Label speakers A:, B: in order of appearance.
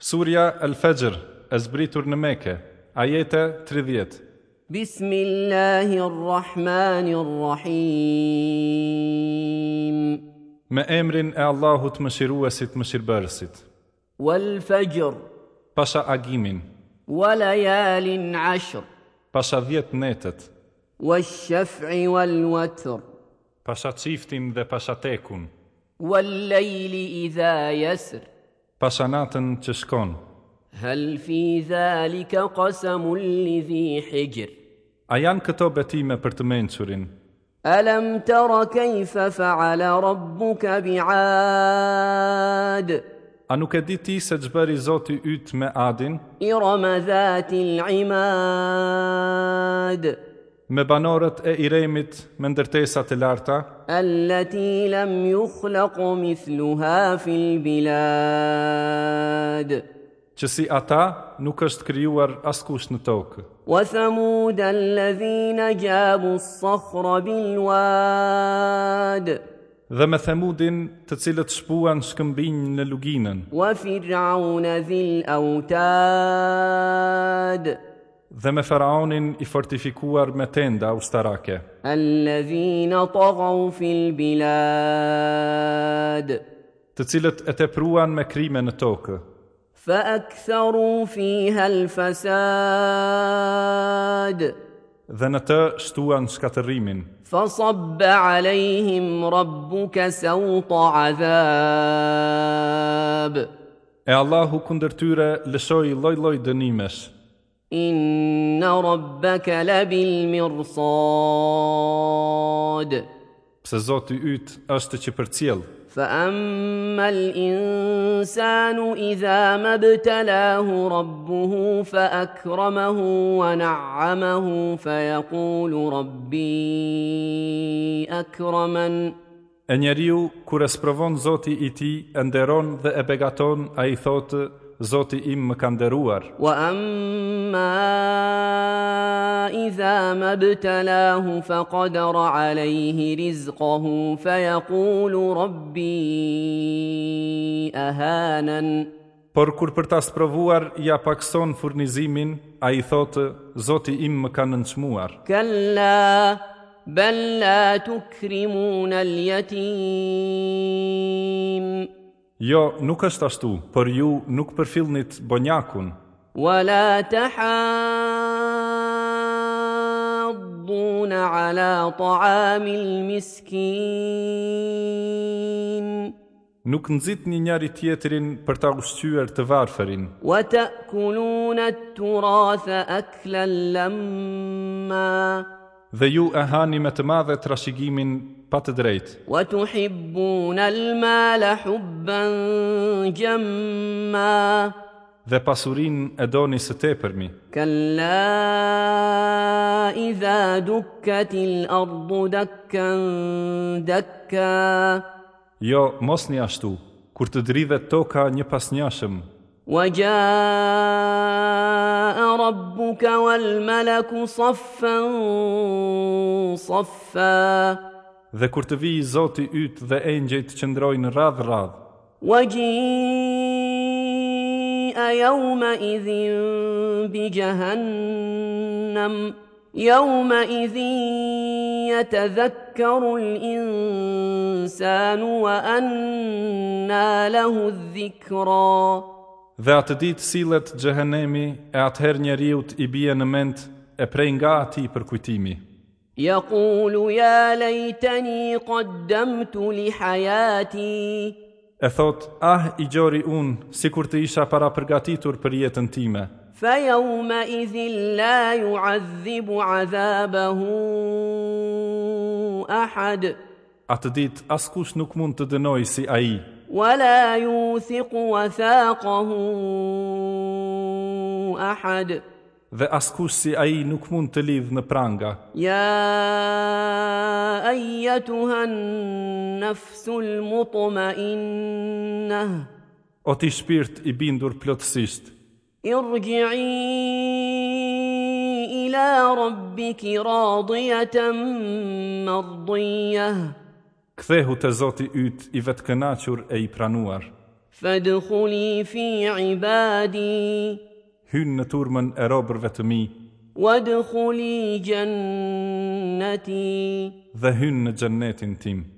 A: Surja El Fejr, e zbritur në Mekë, ajete 30.
B: بسم الله الرحمن الرحيم
A: Me emrin e Allahut mëshiruesit mëshirbërësit.
B: والفجر
A: Pasha agimin,
B: وليال عشر
A: pasha 10 netet,
B: والشفع والوتر
A: pasha çiftin dhe pasha tekun,
B: والليل إذا يسر
A: pasha natën që shkon.
B: هل في ذلك قسم لذي حجر
A: A janë këto betime për të menqurin?
B: ألم تر كيف فعل ربك بعاد
A: A nuk e di ti se gjëbëri Zoti ytë me adin,
B: إرم ذات العماد
A: me banorët e iremit, me ndërtesat e larta,
B: التي لم يخلق مثلها في البلاد
A: që si ata nuk është kryuar askush në tokë.
B: وثمود الذين جابوا الصخر بالواد
A: dhe me themudin të cilët shpuan shkëmbinj në luginën,
B: وفرعون ذي الاوتاد
A: dhe me faraonin i fortifikuar me tenda ustarake,
B: الذين طغوا في البلاد
A: të cilët e tepruan me krime në tokë,
B: فاكثروا فيها الفساد
A: dhe në të shtuan shkatërimin,
B: فصب عليهم ربك سوط عذاب
A: e Allahu kundër tyre lëshoi lloj-lloj dënimesh,
B: ان ربك لبالمرصاد
A: pse Zoti yt është që përcjell.
B: فاما الانسان اذا ما ابتلاه ربه فاكرمه ونعمه فيقول ربي اكرمن
A: E njeriu kur e sprovon Zoti i tij, e nderon dhe e begaton, ai thotë: Zoti im më ka nderuar.
B: واما اذا ما ابتلاه فقدر عليه رزقه فيقول ربي اهانن
A: Por kur për ta sprovuar ja pakson furnizimin, a i thotë, Zoti im më ka nënçmuar.
B: كلا بل لا تكرمون اليتيم
A: Jo, nuk është ashtu, por ju nuk përfilnit bonjakun,
B: ولا تحاضون على طعام المسكين
A: nuk nëzit një njëri tjetërin për ta ushqyër të varfërin,
B: وتأكلون التراث أكلا لما
A: dhe ju e hani me të madhe trashigimin pa të drejtë,
B: وتحبون المال حبا جما
A: dhe pasurin e doni së tepërmi.
B: كلا إذا دكت الأرض دكا دكا
A: Jo, mos një ashtu, kur të drive toka një pasnjashëm,
B: وجاء ربك والملك صفا صفا
A: dhe kur të vijë zoti ytë dhe engjejt qëndrojnë radh-radh,
B: وجيء يومئذ بجهنم يومئذ يتذكر الإنسان وأنى له الذكرى
A: Dhe atë ditë sillet xhehenemi e atëherë njeriut i bie në mend e prej nga ati për kujtimi.
B: يقول يا ليتني قدمت لحياتي
A: E thot, ah i gjori unë, si kur të isha para përgatitur për jetën time.
B: فيومئذ لا يعذب عذابه احد
A: Atë ditë askush nuk mund të dënoj si a i,
B: ولا يوثق وثاقه احد
A: dhe askush si a i nuk mund të lidh në pranga.
B: يا ايتها النفس المطمئنه
A: O ti shpirt i bindur plotësisht,
B: ارجعي الى ربك راضيه مرضيه
A: kthehu të zoti ytë i vetkënaqur e i pranuar.
B: فادخلي في عبادي
A: Hynë në turmën e robërve të mi
B: وادخلي جنتي
A: dhe hynë në gjennetin tim.